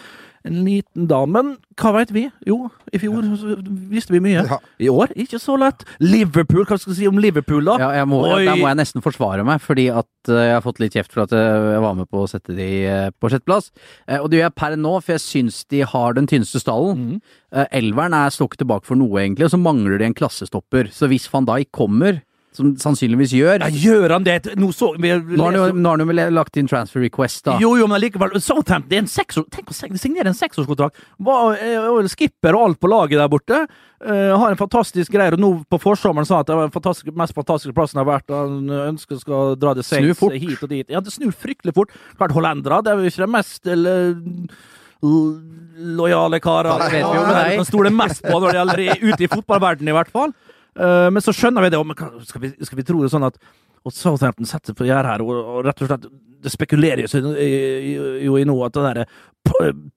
en liten dam. Men hva veit vi? Jo, i fjor så visste vi mye. Ja. I år ikke så lett. Liverpool, hva skal vi si om Liverpool, da? Ja, jeg må, Oi. der må jeg nesten forsvare meg, fordi at eh, jeg har fått litt kjeft for at eh, jeg var med på å sette de eh, på sjetteplass. Eh, og det gjør jeg per nå, for jeg syns de har den tynneste stallen. Mm. Eh, elveren er stokk tilbake for noe, egentlig, og så mangler de en klassestopper. Så hvis van Dijk kommer, som sannsynligvis gjør Ja, gjør han det? Nå så vi Nå har han jo- nå har han jo vel lagt inn transfer request, da. Jo, jo, men likevel. Southampton, det er en seksår... Tenk å seg- signere en seksårskontrakt! Hva- eh, og Skipper og alt på laget der borte. Eh, har en fantastisk greie, og nå på forsommeren sa han at det var den fantastiske- mest fantastiske plassen har vært. Han ønsker skal dra det Snur seks fort. hit og dit. Ja, det snur fryktelig fort. Klart, hollendere, det er jo ikke det mest eller, l- lojale karer. Ja, det vet vi jo med Nei, deg. kan stole mest på når det gjelder i- ute i fotballverdenen, i hvert fall. Eh, men så skjønner vi det, og men hva- skal vi, skal vi tro det sånn at og Southampton setter på gjerdet her, og, og rett og slett Det spekuleres jo, i- i- jo i nå at det derre p-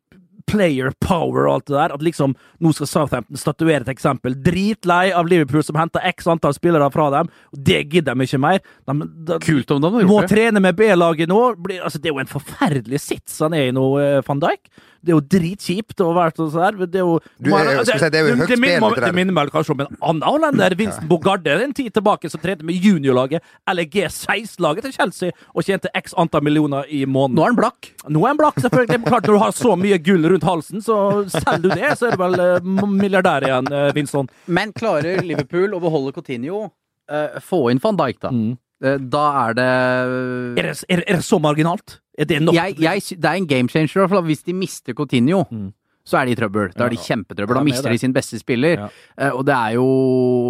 Player power og alt det der. At liksom nå skal Southampton statuere et eksempel. Dritlei av Liverpool som henter x antall spillere fra dem. og Det gidder de ikke mer. De, de, Kult om de har må gjort det. trene med B-laget nå. Blir, altså, det er jo en forferdelig sits han er i nå, eh, van Dijk. Det er jo dritkjipt å være sånn der. men Det er jo, Du, jeg- jeg skulle si, det er jo høyt det minner spill, meg- det der. det minner meg kanskje om en annen hollender, Vincent Bogarde, en tid tilbake, som trente med juniorlaget, eller G16-laget til Chelsea, og tjente x antall millioner i måneden. Nå er han blakk! Nå er en blakk, selvfølgelig. Men klart, når du har så mye gull rundt halsen, så selger du det, så er du vel eh, milliardær igjen, eh, Vincent. Men klarer Liverpool å beholde Coutinho, eh, få inn van Dijk, da. Mm. Eh, da er det Er det, er, er det så marginalt? Er det nok? jeg, jeg, sy- det er en game changer, i hvert fall. Hvis de mister Coutinho, så er de i trøbbel. Da er de kjempetrøbbel. Mm. Ja, det Da er mister det. de sin beste spiller. Ja. Eh, Og det er jo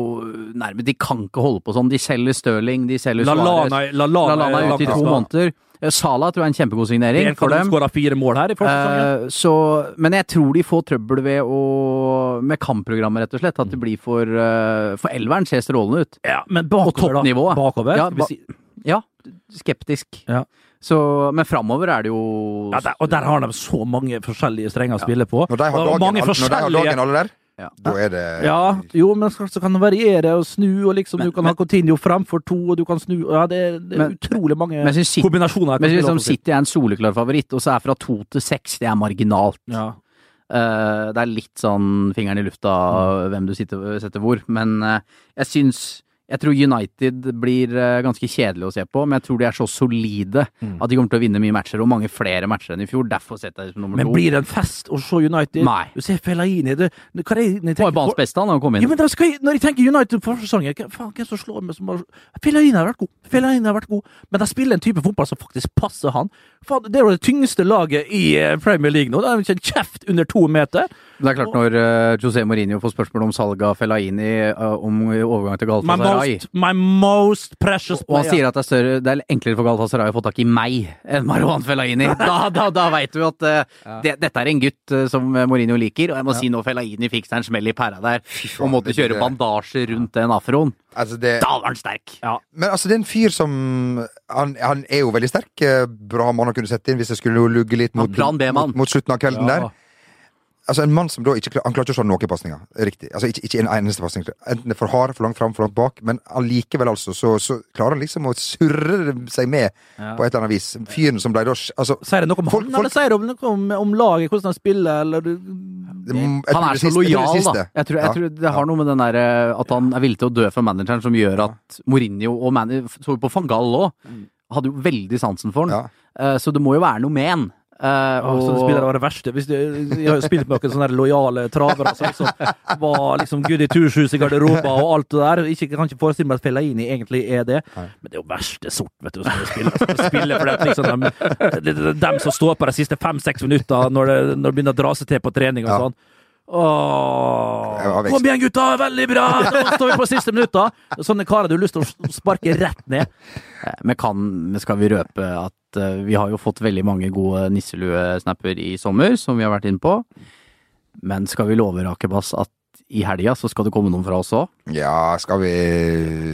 nærmest De kan ikke holde på sånn. De selger Stirling, de selger La Lana, Suárez. la La Lana, Lana er ute i to måneder. Sala tror jeg er en kjempegod signering En for kan dem. skåra fire mål her i første sesongen. Eh, så, men jeg tror de får trøbbel ved å, med kampprogrammet, rett og slett. Mm. At det blir for eh, For elveren ser strålende ut. Ja, men bakover, da. toppnivået. Bakover, Ja, skal vi ba- si- Ja, skeptisk. Ja. Så, men framover er det jo ja, der, og der har de så mange forskjellige strenger å spille på. Når de har og dagen, mange alle- når de har dagen forskjellige alle der, Ja. da er det ja, jo, men så så kan det variere og snu, og liksom du kan ha Coutinho framfor to, og du kan snu og Ja, det, er- det er Men- utrolig mange men jeg synes City- kombinasjoner. jeg kan Men spille opp liksom og si. City er en soleklar favoritt, og så er fra to til seks, det er marginalt. ja. Eh, det er litt sånn fingeren i lufta hvem du sitter, setter hvor, men eh, jeg syns jeg tror United blir eh, ganske kjedelig å se på, men jeg tror de er så solide Mm. at de kommer til å vinne mye matcher, og mange flere matcher enn i fjor. Derfor setter jeg dem som nummer Men to. blir det en fest å se United? Nei. Du ser Fellaini det, det, hva er det, når jeg Det var tenker jo banens på- beste han har Ja, kommet inn. men da skal jeg, når jeg tenker United for sesongen, hva faen, hvem som slår meg som bare Fellaini har vært god, Fellaini har vært god, men de spiller en type fotball som faktisk passer han. Faen, det er jo det tyngste laget i eh, Premier League nå. Det er jo ikke en kjeft under to meter. Det er klart, når eh, José Mourinho får spørsmål om salget av Fellaini, eh, om overgang til My Galatasaray most, my most precious Og han player. sier at det er, større, det er enklere for Galatasaray å få tak i meg enn Marwan Fellaini. Da, da, da veit du at eh, det, dette er en gutt eh, som Mourinho liker, og jeg må si når Fellaini fikk seg en smell i pæra der faen, og måtte det blir kjøre det. bandasje rundt den afroen, Altså, det da var han sterk! Men altså, det er en fyr som Han, han er jo veldig sterk. eh, Bra mann å kunne sette inn hvis det skulle lugge litt mot, Han plan B-mann. mot, mot slutten av kvelden Ja. der. Altså En mann som da ikke klar- Han klarer ikke å slå noen pasninger. Riktig. Altså Ikke, ikke en eneste pasning. Enten det er for hard, for langt fram, for langt bak. Men allikevel, altså, så, så klarer han liksom å surre seg med på et eller annet vis. Fyren som ble da altså, Sier det noe om Folk- han, folk- eller sier det noe om, om laget, hvordan de spiller, eller du- det må- jeg Han tror det er så siste- jeg tror det lojal, da. siste. Jeg tror, jeg Ja. tror Det har noe med den der, eh, at han er villig til å dø for manageren, som gjør at Mourinho og Mani så vi på van Gaal òg. hadde jo veldig sansen for Mm. den. Ja. Eh, så det må jo være noe med den. Eh, Og... Sånne spillere var det verste. Hvis du, jeg har jo spilt med noen sånne her lojale travere som liksom var liksom Gud i turshus i garderober og alt det der. Ikke, kan ikke forestille meg at Fellaini egentlig er det. Men det er jo verste sort, vet du, som spiller, som spiller for det, er liksom, dem, det er dem som står på de siste fem-seks minutter når det, når det begynner å dra seg til på trening og Ja. sånn. Åh, Jeg var vekst. kom igjen, gutta! Veldig bra! Nå står vi på siste minutta! Sånne karer du har lyst til å sparke rett ned. Eh, Men kan, men skal vi røpe at eh, vi har jo fått veldig mange gode nisseluesnapper i sommer, som vi har vært inne på. Men skal vi love, Rakebass, at i helga så skal det komme noen fra oss òg? Ja, skal vi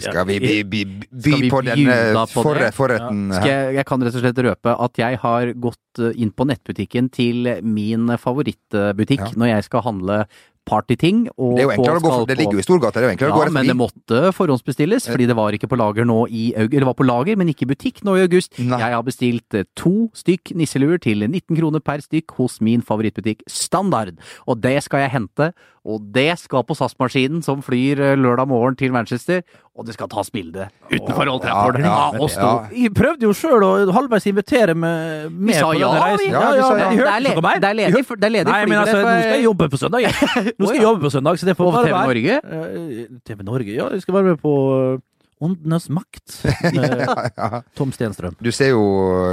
Skal vi by, by, by Skal vi på bjuda denne på forre- det? forretten eh, Skal her? jeg, jeg kan rett og slett røpe at jeg har gått eh, inn på nettbutikken til min favorittbutikk Ja. når jeg skal handle partyting. og- Det er jo enklere å gå og skal for, Det på- ligger jo i Storgata. Det er jo enklere å gå Ja, rett men det forbi. måtte forhåndsbestilles, fordi det var ikke på lager nå i august. Eller var på lager, men ikke i butikk nå i august. Nei. Jeg har bestilt eh, to stykk nisseluer til 19 kroner per stykk hos min favorittbutikk Standard. Og det skal jeg hente, og det skal på SAS-maskinen som flyr eh, lørdag morgen til Manchester. Og det skal tas bilde utenfor Old Trafford ja, av oss to. ja. Jeg prøvde jo sjøl å halvveis invitere med, med Vi sa på ja, denne vi. reisen. Ja, vi Jeg sa ja. Det hørte er, ikke le på meg. det er ledig, for- det er ledig Nei, men altså, nå skal jeg jobbe på søndag. jeg. Nå skal jeg jobbe på søndag, så det får På bare TV være. Norge? Eh, TV Norge, ja. Jeg skal være med på eh, Åndenes makt med Tom Stenstrøm. Du ser jo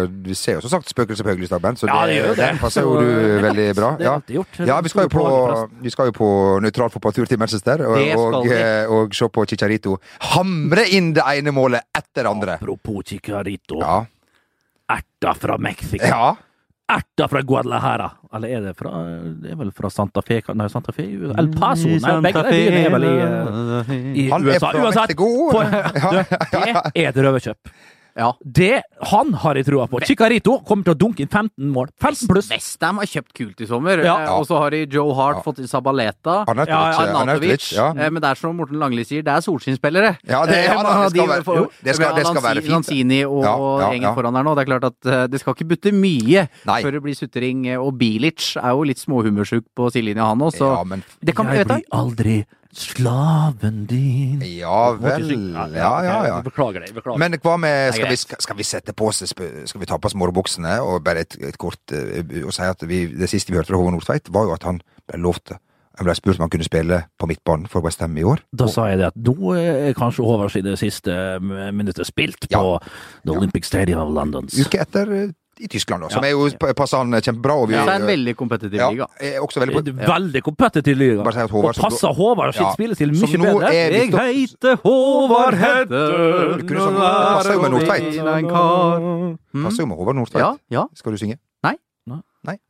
Du ser jo som sagt Spøkelse på Høylystaben, så Ja, det gjør jo det. den passer jo Så- eh, du veldig bra. Det er Ja. alltid gjort. Ja, vi skal jo på, vi skal jo på nøytral fotballtur til Manchester, og, Det skal og, vi. eh, og se på Chicharito hamre inn det ene målet etter det andre. Apropos chicarito. Ja. Erta fra Mexico. ja. Erta fra Guadalajara. Eller er det fra Det er vel fra Santa Fe? Nei, Santa Fe? El Paso? Nei, begge de byene er vel i, eh, i Han er USA. fra Uansett, Mexico. for, du, det er et røverkjøp. Ja. Det han har jeg trua på. Chicarito kommer til å dunke inn 15 mål. 15 pluss. Westham har kjøpt kult i sommer, Ja. eh, og så har de Joe Hart Ja. fått inn Sabaleta. Arnautovic. Ja, eh, Arnautovic. Arnautovic, Ja. Eh, Men det er som Morten Langli sier, det er solskinnsspillere. Ja, det- ja, Eh, da, det skal de- være- for- jo, det skal- det skal Lanzini- være fint, det. Lanzini og Ja, ja, gjengen ja. foran der nå. Det er klart at eh, det skal ikke butte mye Nei. før det blir sutring. eh, Og Bilic er jo litt småhumørsjuk på sidelinja, han òg, så Ja, men det kan Jeg vet blir du. aldri slaven din. Ja vel. Ja, ja, ja. Beklager det. Beklager. Men hva med Det Skal er vi, skal vi sette på oss spø- Skal vi ta på oss morgenbuksene og bare et, et kort eh, Og si at vi, det siste vi hørte fra Håvard Nordtveit, var jo at han ble lovt Han ble spurt om han kunne spille på midtbanen for West Ham i år. da sa jeg det at nå er kanskje over sine siste minutter spilt på Ja. The Olympic Stadium of London. Uke etter eh, i Tyskland, da. Som er jo pa- passer han eh, kjempebra. Og vi, Det er en veldig kompetitiv ja, liga. er også veldig på, Veldig kompetitiv liga. Bare si at Og Håvard som- passer Håvard sitt Ja. spillestil Som mye nå bedre. er Jeg Victor- heter Håvard Hedde Du kunne sagt- det passer jo med Nordtveit. eh, passer jo med Håvard Nordtveit. Ja, ja. Skal du synge?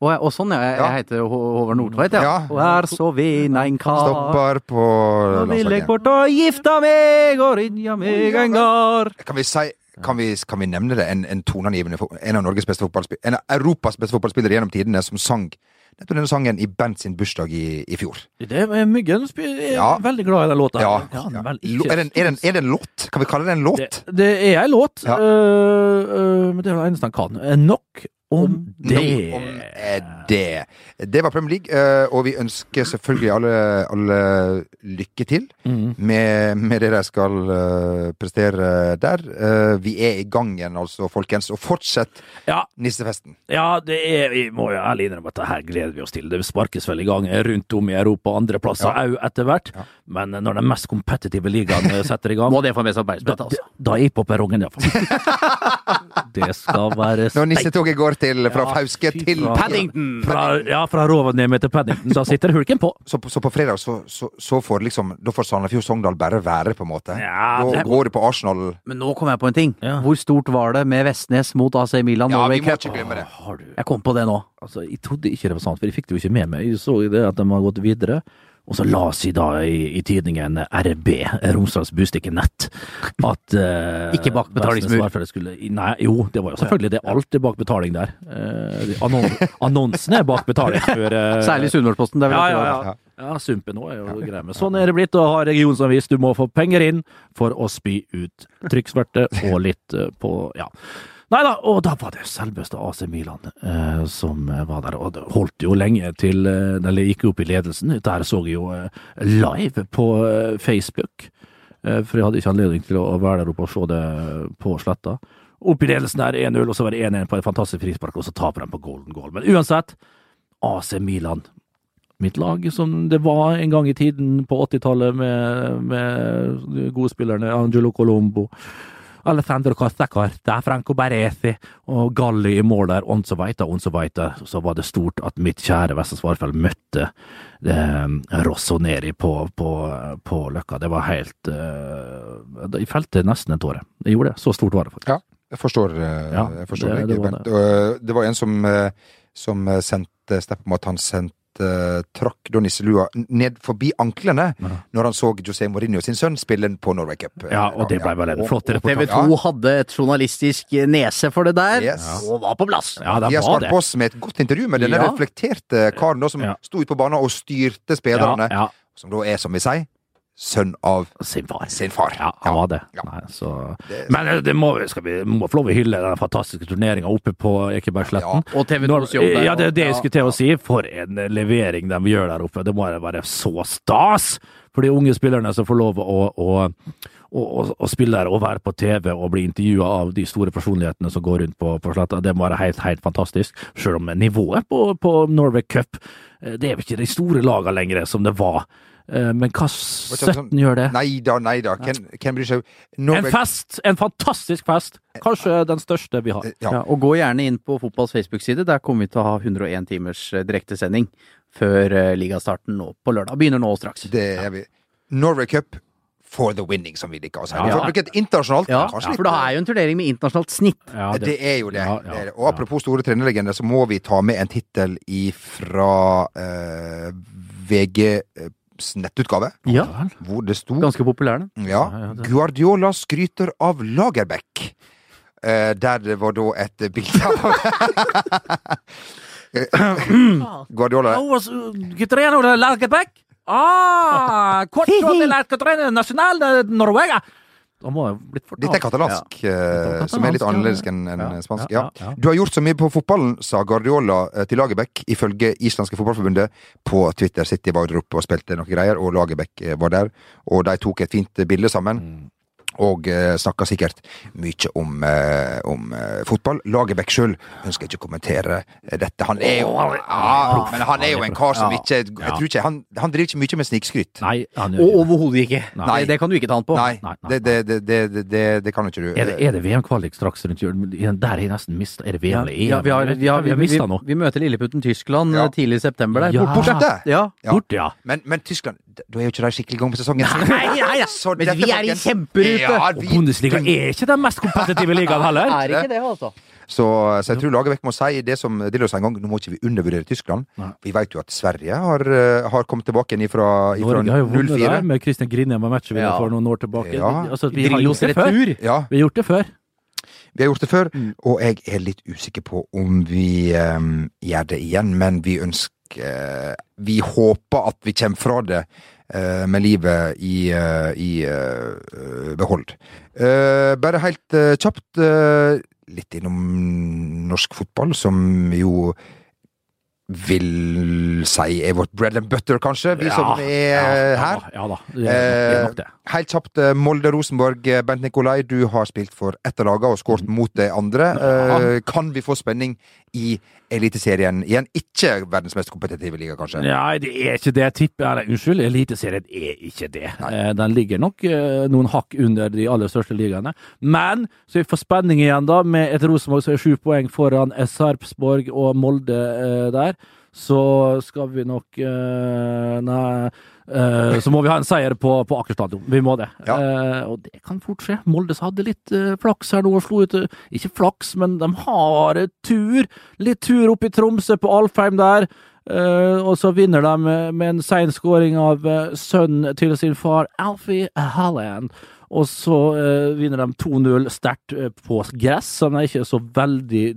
Og, og sånn, ja. Jeg, jeg Ja. heter Hå- Håvard Nordtveit, ja. Ja. Og er så ven ein kar. Stopper på Nå vil jeg landslaget. bort og gifta meg og rinja meg en gard. Kan vi si kan vi, kan vi nevne det? En, en toneangivende fo- En av Norges beste fotballspillere En av Europas beste fotballspillere gjennom tidene som sang nettopp denne sangen i Bent sin bursdag i, i fjor. Det er Myggen sp- er Ja. veldig glad i den låta. Ja. Det kan vel Lo- ikke Er det, en- er, det, en- er det en låt? Kan vi kalle det en låt? Det, det er ei låt, Ja. øh, øh, men det er det eneste han kan. Eh, Nok om det. Nå om er det. Det var Premier League, eh, og vi ønsker selvfølgelig alle, alle lykke til Mhm. med, med det de skal eh, prestere der. Eh, vi er i gang igjen, altså, folkens. Og fortsett Ja, nissefesten. ja, det er Vi må jo ærlig innrømme at det her gleder vi oss til. Det sparkes vel i gang rundt om i Europa, andre plasser òg etter hvert. Men når den mest kompetitive ligaen eh, setter i gang Må det få mest da, oppmerksomhet, altså. da, da er jeg på perrongen, iallfall. det skal være Når steik. nissetoget går til fra Ja, Fauske fy til faen. Paddington! Fra, ja, fra Rovaniemi til Paddington, da sitter hulken på. så, på- så på fredag så, så, så får liksom Da får Sandefjord Sogndal bare være, på en måte. Ja, da det- går det på Arsenal Men nå kom jeg på en ting. Ja. Hvor stort var det med Vestnes mot AC Milan? Ja, Norway vi må Cup? ikke glemme det. Har du Jeg kom på det nå. Altså, Jeg trodde ikke det var sant, for jeg fikk det jo ikke med meg. Jeg så jo det at de har gått videre. Og så la jeg da i, i tidningen RB, Romsdals Bustikke Nett, at eh, Ikke bak Vestnes betalingsmur. Varfjell Skulle, nei, jo, det var jo selvfølgelig det. Alt er bak betaling der. Eh, de annon, annonsene er bak betaling. For, eh, Særlig Sunnmørsposten. det vil ja, jeg ja, tro. ja. ja, sumpen òg er jo grei med. Sånn er det blitt å ha regionsavis. Du må få penger inn for å spy ut trykksverte og litt eh, på Ja. Nei da, og da var det selveste AC Milan eh, som eh, var der. Og det holdt jo lenge til eh, Eller gikk opp i ledelsen. Der så jeg jo eh, live på eh, Facebook. Eh, for jeg hadde ikke anledning til å være der oppe og se det eh, på sletta. Opp i ledelsen der 1-0, og så var det 1-1 på et fantastisk frispark, og så taper de på golden goal. Men uansett, AC Milan mitt lag, som det var en gang i tiden på 80-tallet med, med gode spillerne Angelo Colombo, Alessandro Castacarta, Franco Baresi og Galli i mål der, og så videre, og så videre. Så var det stort at mitt kjære Vestens Varfell møtte eh, Rossoneri på, på, på Løkka. Det var helt eh, Jeg felte nesten en tåre. Jeg gjorde det. Så stort var det faktisk. Ja, jeg forstår, eh, Ja, jeg forstår det- deg, det var Bent. det. Og, eh, Det var en som, eh, som eh, sendte snap om at han sendte eh, trakk da nisselua n- ned forbi anklene når han så José Mourinho sin sønn spille på Norway Cup. eh, Ja, og det en gang, ble vel en Og- flott og- reportasje. TV 2 hadde et journalistisk eh, nese for det der, Yes. og var på plass. Ja, det De har var svart det. på oss med et godt intervju med denne Ja. reflekterte karen da, som Ja. sto ute på banen og styrte Ja, spillerne, ja. som da er, som vi sier, sønn av Sin far. Sin far. Ja, han Ja. var det. Ja. Nei, så... Men eh, det må, skal vi må få lov å hylle den fantastiske turneringa oppe på Ekebergsletten. Og TV 2s jobb der. ja, det er det jeg Ja. skulle til å si. For en levering de gjør der oppe. Det må da være så stas for de unge spillerne som får lov å, å, å, å, å spille der og være på TV og bli intervjua av de store personlighetene som går rundt på, på sletta. Det må være helt, helt fantastisk. Selv om nivået på, på Norway Cup eh, Det er jo ikke de store lagene lenger som det var. Eh, Men hva søtten gjør det? Nei da, nei da. Hvem hvem bryr seg? En Norway fest! En fantastisk fest! Kanskje den største vi har. Eh, ja. Ja, og gå gjerne inn på fotballs Facebook-side. Der kommer vi til å ha 101 timers eh, direktesending før eh, ligastarten nå på lørdag. Begynner nå straks. Det er vi. Norway Cup for the winning, som vi liker å si. Ja, Vi ja. får bruke et internasjonalt Ja, kanskje for det er jo en turnering med internasjonalt snitt. Ja, det, er jo det. Ja, det ja, er det. og apropos store trenerlegender, så må vi ta med en tittel ifra eh, VGs nettutgave, Ja. hvor det sto Ganske populær, den. ja, Guardiola skryter av Lagerbäck. Eh, der det var da et bilde av Eh, Guardiola I was uh, altså, training with Lerkebeck. Ah, kort fra til Lerketrene nasjonal eh, Norvega. Han må ha blitt fortalt. Dette er katalansk, eh, som er litt annerledes katalansk, enn enn Ja, spansk. ja, Ja. ja, ja. Du har gjort så mye på fotballen, sa Guardiola eh, til Lagerbäck, ifølge islandske fotballforbundet. På Twitter City var der oppe og spilte noen greier, og Lagerbäck eh, var der. Og de tok et fint bilde sammen. Mm. Og uh, snakka sikkert mye om, eh, om eh, fotball. Lagerbäck sjøl ønsker ikke å kommentere eh, dette. Han er jo ja, Men han er jo en kar som ikke Jeg tror ikke Han, han driver ikke mye med snikskryt. Nei, han gjør Og ikke det. overhodet ikke. Nei. Det kan du ikke ta den på. Nei, nei, nei. det, det, det, det, det, det kan ikke du. Er det, er det VM-kvalik straks rundt jul? Der har jeg nesten mista Er det VM eller EM? Ja, vi, har, vi, har, vi, mista vi, nå. vi møter lilleputten Tyskland Ja. eh, tidlig i september der. Ja. Bort- Bortsett det! Ja. Ja. Bort, ja. Men, men Tyskland, d- da er jo ikke de skikkelig i gang med sesongen. Nei, nei, nei. Så Men dette, vi er i folkens- kjemperute. Ja, Og vi- Bundesliga er ikke den mest kompetitive ligaen heller. Er ikke det, altså. Så, så jeg tror Lagerbäck må si det som Dillo sa en gang, nå må ikke vi undervurdere Tyskland. Vi vet jo at Sverige har, eh, har kommet tilbake igjen ifra, ifra Norge har jo vunnet der 04. med Christian Grinheim og matchen vi Ja. for noen år tilbake. Ja. Altså, vi har Drillos gjort det før. retur. Ja, Vi har gjort det før. vi har gjort det før, og jeg er litt usikker på om vi eh, gjør det igjen, men vi ønsker eh, Vi håper at vi kommer fra det eh, med livet i, eh, i eh, behold. Eh, bare helt eh, kjapt eh, litt innom norsk fotball, som jo vil si er vårt bread and butter, kanskje, vi som er eh, her. Ja da. Ja, da. Det er, det er nok det. Helt kjapt, eh, Molde-Rosenborg. eh, Bent Nikolai, du har spilt for ett av lagene og skåret mot det andre. Eh, Kan vi få spenning i Eliteserien igjen? Ikke verdens mest kompetitive liga, kanskje? Nei, det er ikke det. Tippet, eller, unnskyld, Eliteserien er ikke det. Eh, Den ligger nok eh, noen hakk under de aller største ligaene. Men så vi får spenning igjen, da, med et Rosenborg som er sju poeng foran eh, Sarpsborg og Molde eh, der. Så skal vi nok eh, Nei. eh, så må vi ha en seier på, på Aker stadion. Vi må det. Ja. Eh, og det kan fort skje. Molde så hadde litt eh, flaks her nå og slo ut eh, Ikke flaks, men de har eh, tur. Litt tur opp i Tromsø, på Alfheim der. Eh, og så vinner de eh, med en sein scoring av eh, sønnen til sin far, Alfie Halland. Og så eh, vinner de 2-0 sterkt eh, på gress, som de ikke er så veldig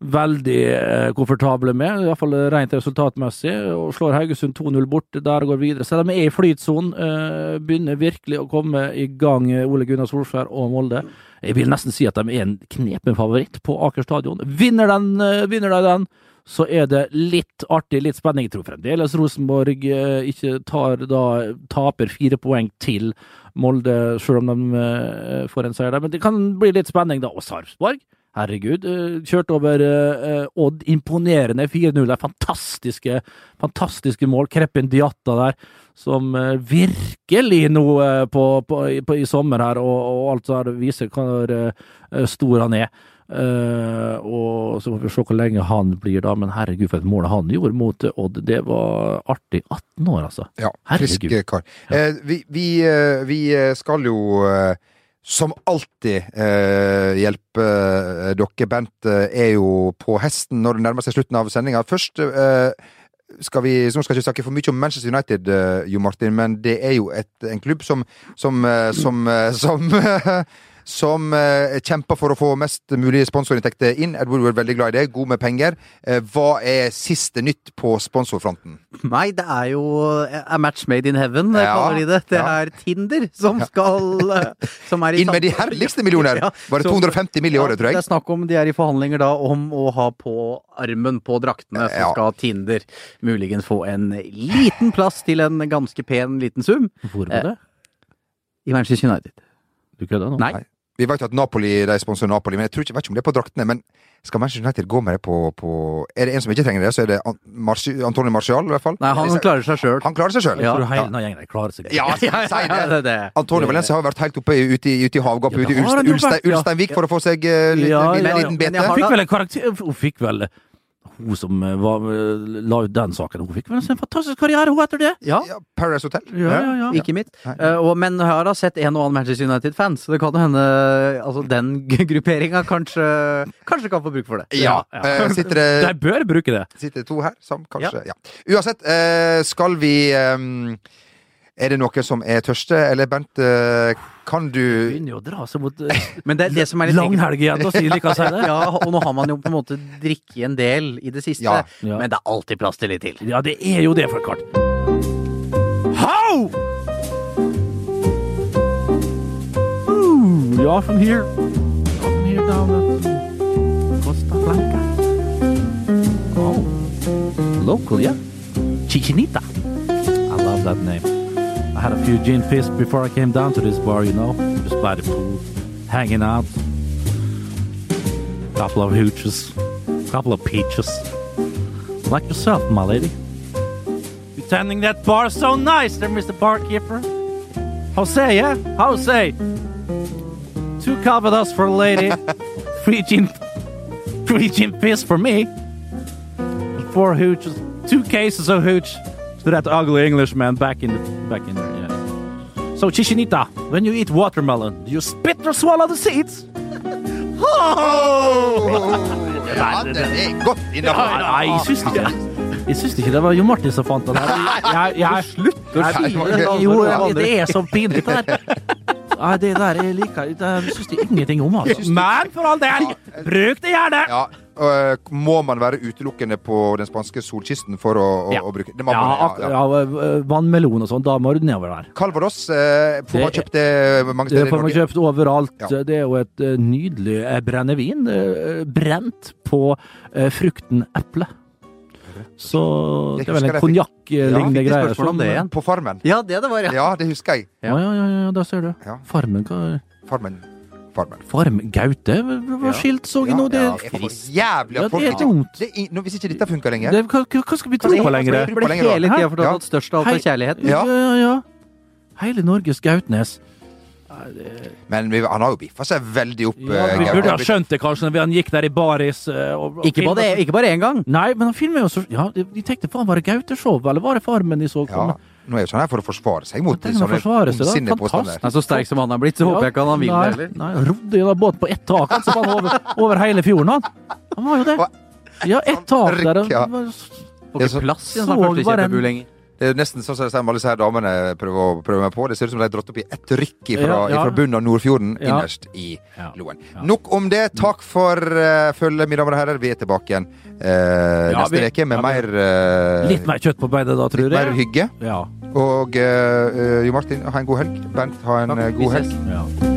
Veldig eh, komfortable med, iallfall rent resultatmessig. og Slår Haugesund 2-0 bort, der går videre. Så de er i flytsonen. eh, begynner virkelig å komme i gang, eh, Ole Gunnar Solskjær og Molde. Jeg vil nesten si at de er en knepen favoritt på Aker stadion. Vinner, den, eh, vinner de den, så er det litt artig, litt spenning. Jeg tror fremdeles Rosenborg eh, ikke tar da taper fire poeng til Molde, selv om de eh, får en seier der. Men det kan bli litt spenning, da. Og Sarpsborg, herregud. eh, Kjørte over eh, eh, Odd. Imponerende 4-0. Det er Fantastiske, fantastiske mål. Kreppin Diatta der, som eh, virkelig nå eh, på, på, i- på, i sommer her, og, og alt der viser hvor eh, stor han er. Eh, og så får vi se hvor lenge han blir, da. Men herregud, for et mål han gjorde mot eh, Odd. Det var artig. 18 år, altså. Ja, Herregud. friske kar. Eh, vi, vi, eh, vi eh, skal jo eh, som alltid eh, hjelpe eh, dere. Bent eh, er jo på hesten når det nærmer seg slutten av sendinga. Først eh, skal vi, så nå skal jeg ikke snakke for mye om Manchester United, eh, Jo Martin, men det er jo et, en klubb som som, eh, som, eh, som Som eh, kjemper for å få mest mulig sponsorinntekter inn. Ed Woodward er veldig glad i det. God med penger. Eh, hva er siste nytt på sponsorfronten? Nei, det er jo A match made in heaven, Ja, kaller de det. Det ja. er Tinder som skal eh, som er i Inn med de sam- herligste millioner! Ja, Var det så- 250 mill. i Ja, året, tror Det jeg? er snakk om de er i forhandlinger da om å ha på armen på draktene, så Ja. skal Tinder muligens få en liten plass til en ganske pen liten sum Hvor Eh, var det? i Manchester United. Du kødder nå? Nei. Vi vet jo at Napoli, de sponsorer Napoli, men jeg tror ikke, vet ikke om det er på draktene. Men skal Manchester United gå med det på, på Er det en som ikke trenger det, så er det An- Marci, Antonio Marcial, i hvert fall. Nei, han Eller- klarer seg sjøl. han klarer seg sjøl. Jeg Ja. tror hele denne gjengen der klarer seg. Ja, si det! det. Antonio Valencia har vært helt oppe i- ute i, ute i havgapet, Ja, ute i det har Ulstein, han jo vært, ja. Ulsteinvik, for å få seg eh, litt- Ja, en ja, ja. liten bete. Men jeg har Hun da- fikk vel en karakter Hun fikk vel Hun som eh, var, la ut den saken, hun fikk vel en sånn fantastisk karriere, hun, etter det? Ja, Ja, Paradise Hotel. ja. Ikke mitt. Nei. Eh, og, men jeg har da sett en og annen Manchester United-fan, så det kan jo hende altså, den grupperinga kanskje, kanskje kan få bruk for det. Ja. Eh, Sitter det De bør bruke det. sitter to her som kanskje ja. Uansett, eh, skal vi ehm, Er det noen som er tørste, eller Bent, eh, kan du Begynner jo å dra seg mot eh, Men det, det som er litt langhelg igjen, da, sier de hva sier det? Ja, og nå har man jo på en måte drikket en del i det siste, Ja. Ja. men det er alltid plass til litt til. Ja, det er jo det, for klart. How? Ooh, ja, from here. From here down at Costa Blanca. Oh. Local, yeah. Chichinita. I love that name. I had a few gin fizz before I came down to this bar, you know. Just by the pool, hanging out. Couple of hooches, couple of peaches. Like yourself, my lady. You're tending that bar so nice there, Mr. Barkeeper. Jose, yeah? Jose! Two calvados for a lady, three gin, three gin fizz for me, four hooches, two cases of hooch to that ugly Englishman back in the, back in there, yeah. So, Chichinita, when you eat watermelon, do you spit or swallow the seeds? Oh! Ja, det er godt Nei, innafor. nei, jeg syns ikke Jeg syns ikke det var Jo Martin som fant den. Jeg, jeg, jeg, slutter å si det. Jo, det er så pinlig, det der. Nei, det der jeg liker Det syns jeg ingenting om, altså. Men for all del, bruk det gjerne! Ja, øh, må man være utelukkende på den spanske solkysten for å, å, Ja. å bruke det? Må Ja, man, ak- ja, vannmelon og sånn, da må du nedover der. Calvados eh, får man Det- kjøpt det mange Det steder i får man Norge. kjøpt overalt. Ja. Det er jo et eh, nydelig eh, brennevin. eh, Brent på eh, frukten eple. Så Jeg det er vel husker en jeg fikk- konjakk-lignende Ja, jeg fikk greie. spørsmål om som- eh, det igjen. På Farmen. Ja, det det var, ja. Ja, det husker jeg. Ja, ja, ja, ja da ser du. Ja. Farmen, hva Farmen. Farmen. Farm Gaute var Ja. skilt, så jeg nå. Det, ja, jeg får jævlig Ja, at folk det er ikke- dumt. det er i- nå, Hvis ikke dette funker lenger det, hva, hva hva skal vi tro på lenger? det- Det ble hele Hæ? tida fortalt Ja. at størst av alt er kjærlighet. Ja. Ja. ja, ja. Hele Norges Gautnes. Men vi, han har jo biffa seg veldig opp. Ja, eh, vi Gaute. burde ha skjønt det, kanskje, når vi- han gikk der i baris eh, og, og Ikke filmet- bare, ikke bare én gang. Nei, men han filmer jo så Ja, de de tenkte faen, var det Gaute-show, eller var det Farmen de så Ja, komme? nå er jo sånn her for å forsvare seg mot tenker man sånne forsvarer seg da. ondsinnede påstander. Fantastisk. Nei, så sterk som han er blitt, så håper jeg ikke han har nei, hvilen heller. Nei, han rodde gjennom båt på ett tak, han som var over, over hele fjorden, han. Han var jo det. Ja, ett tak der. og- Ja. Får Det er så- ikke plass i en så sånn første var den- kjempebu lenger. Det er jo nesten sånn som de sier med alle disse her damene prøver å prøve meg på. Det ser ut som de har dratt opp i ett rykk Ja, fra, ja. bunnen av Nordfjorden, Ja. innerst i Ja. Loen. Nok om det. Takk for uh, følget, mine damer og herrer. Vi er tilbake igjen eh, Ja, neste vi- uke med ja, vi- mer eh, Litt mer kjøtt på beinet da, tror jeg. litt mer hygge. Ja. Og eh, eh, Jo Martin, ha en god helg. Bernt, ha en Takk. eh, Vi god ses. helg. ja.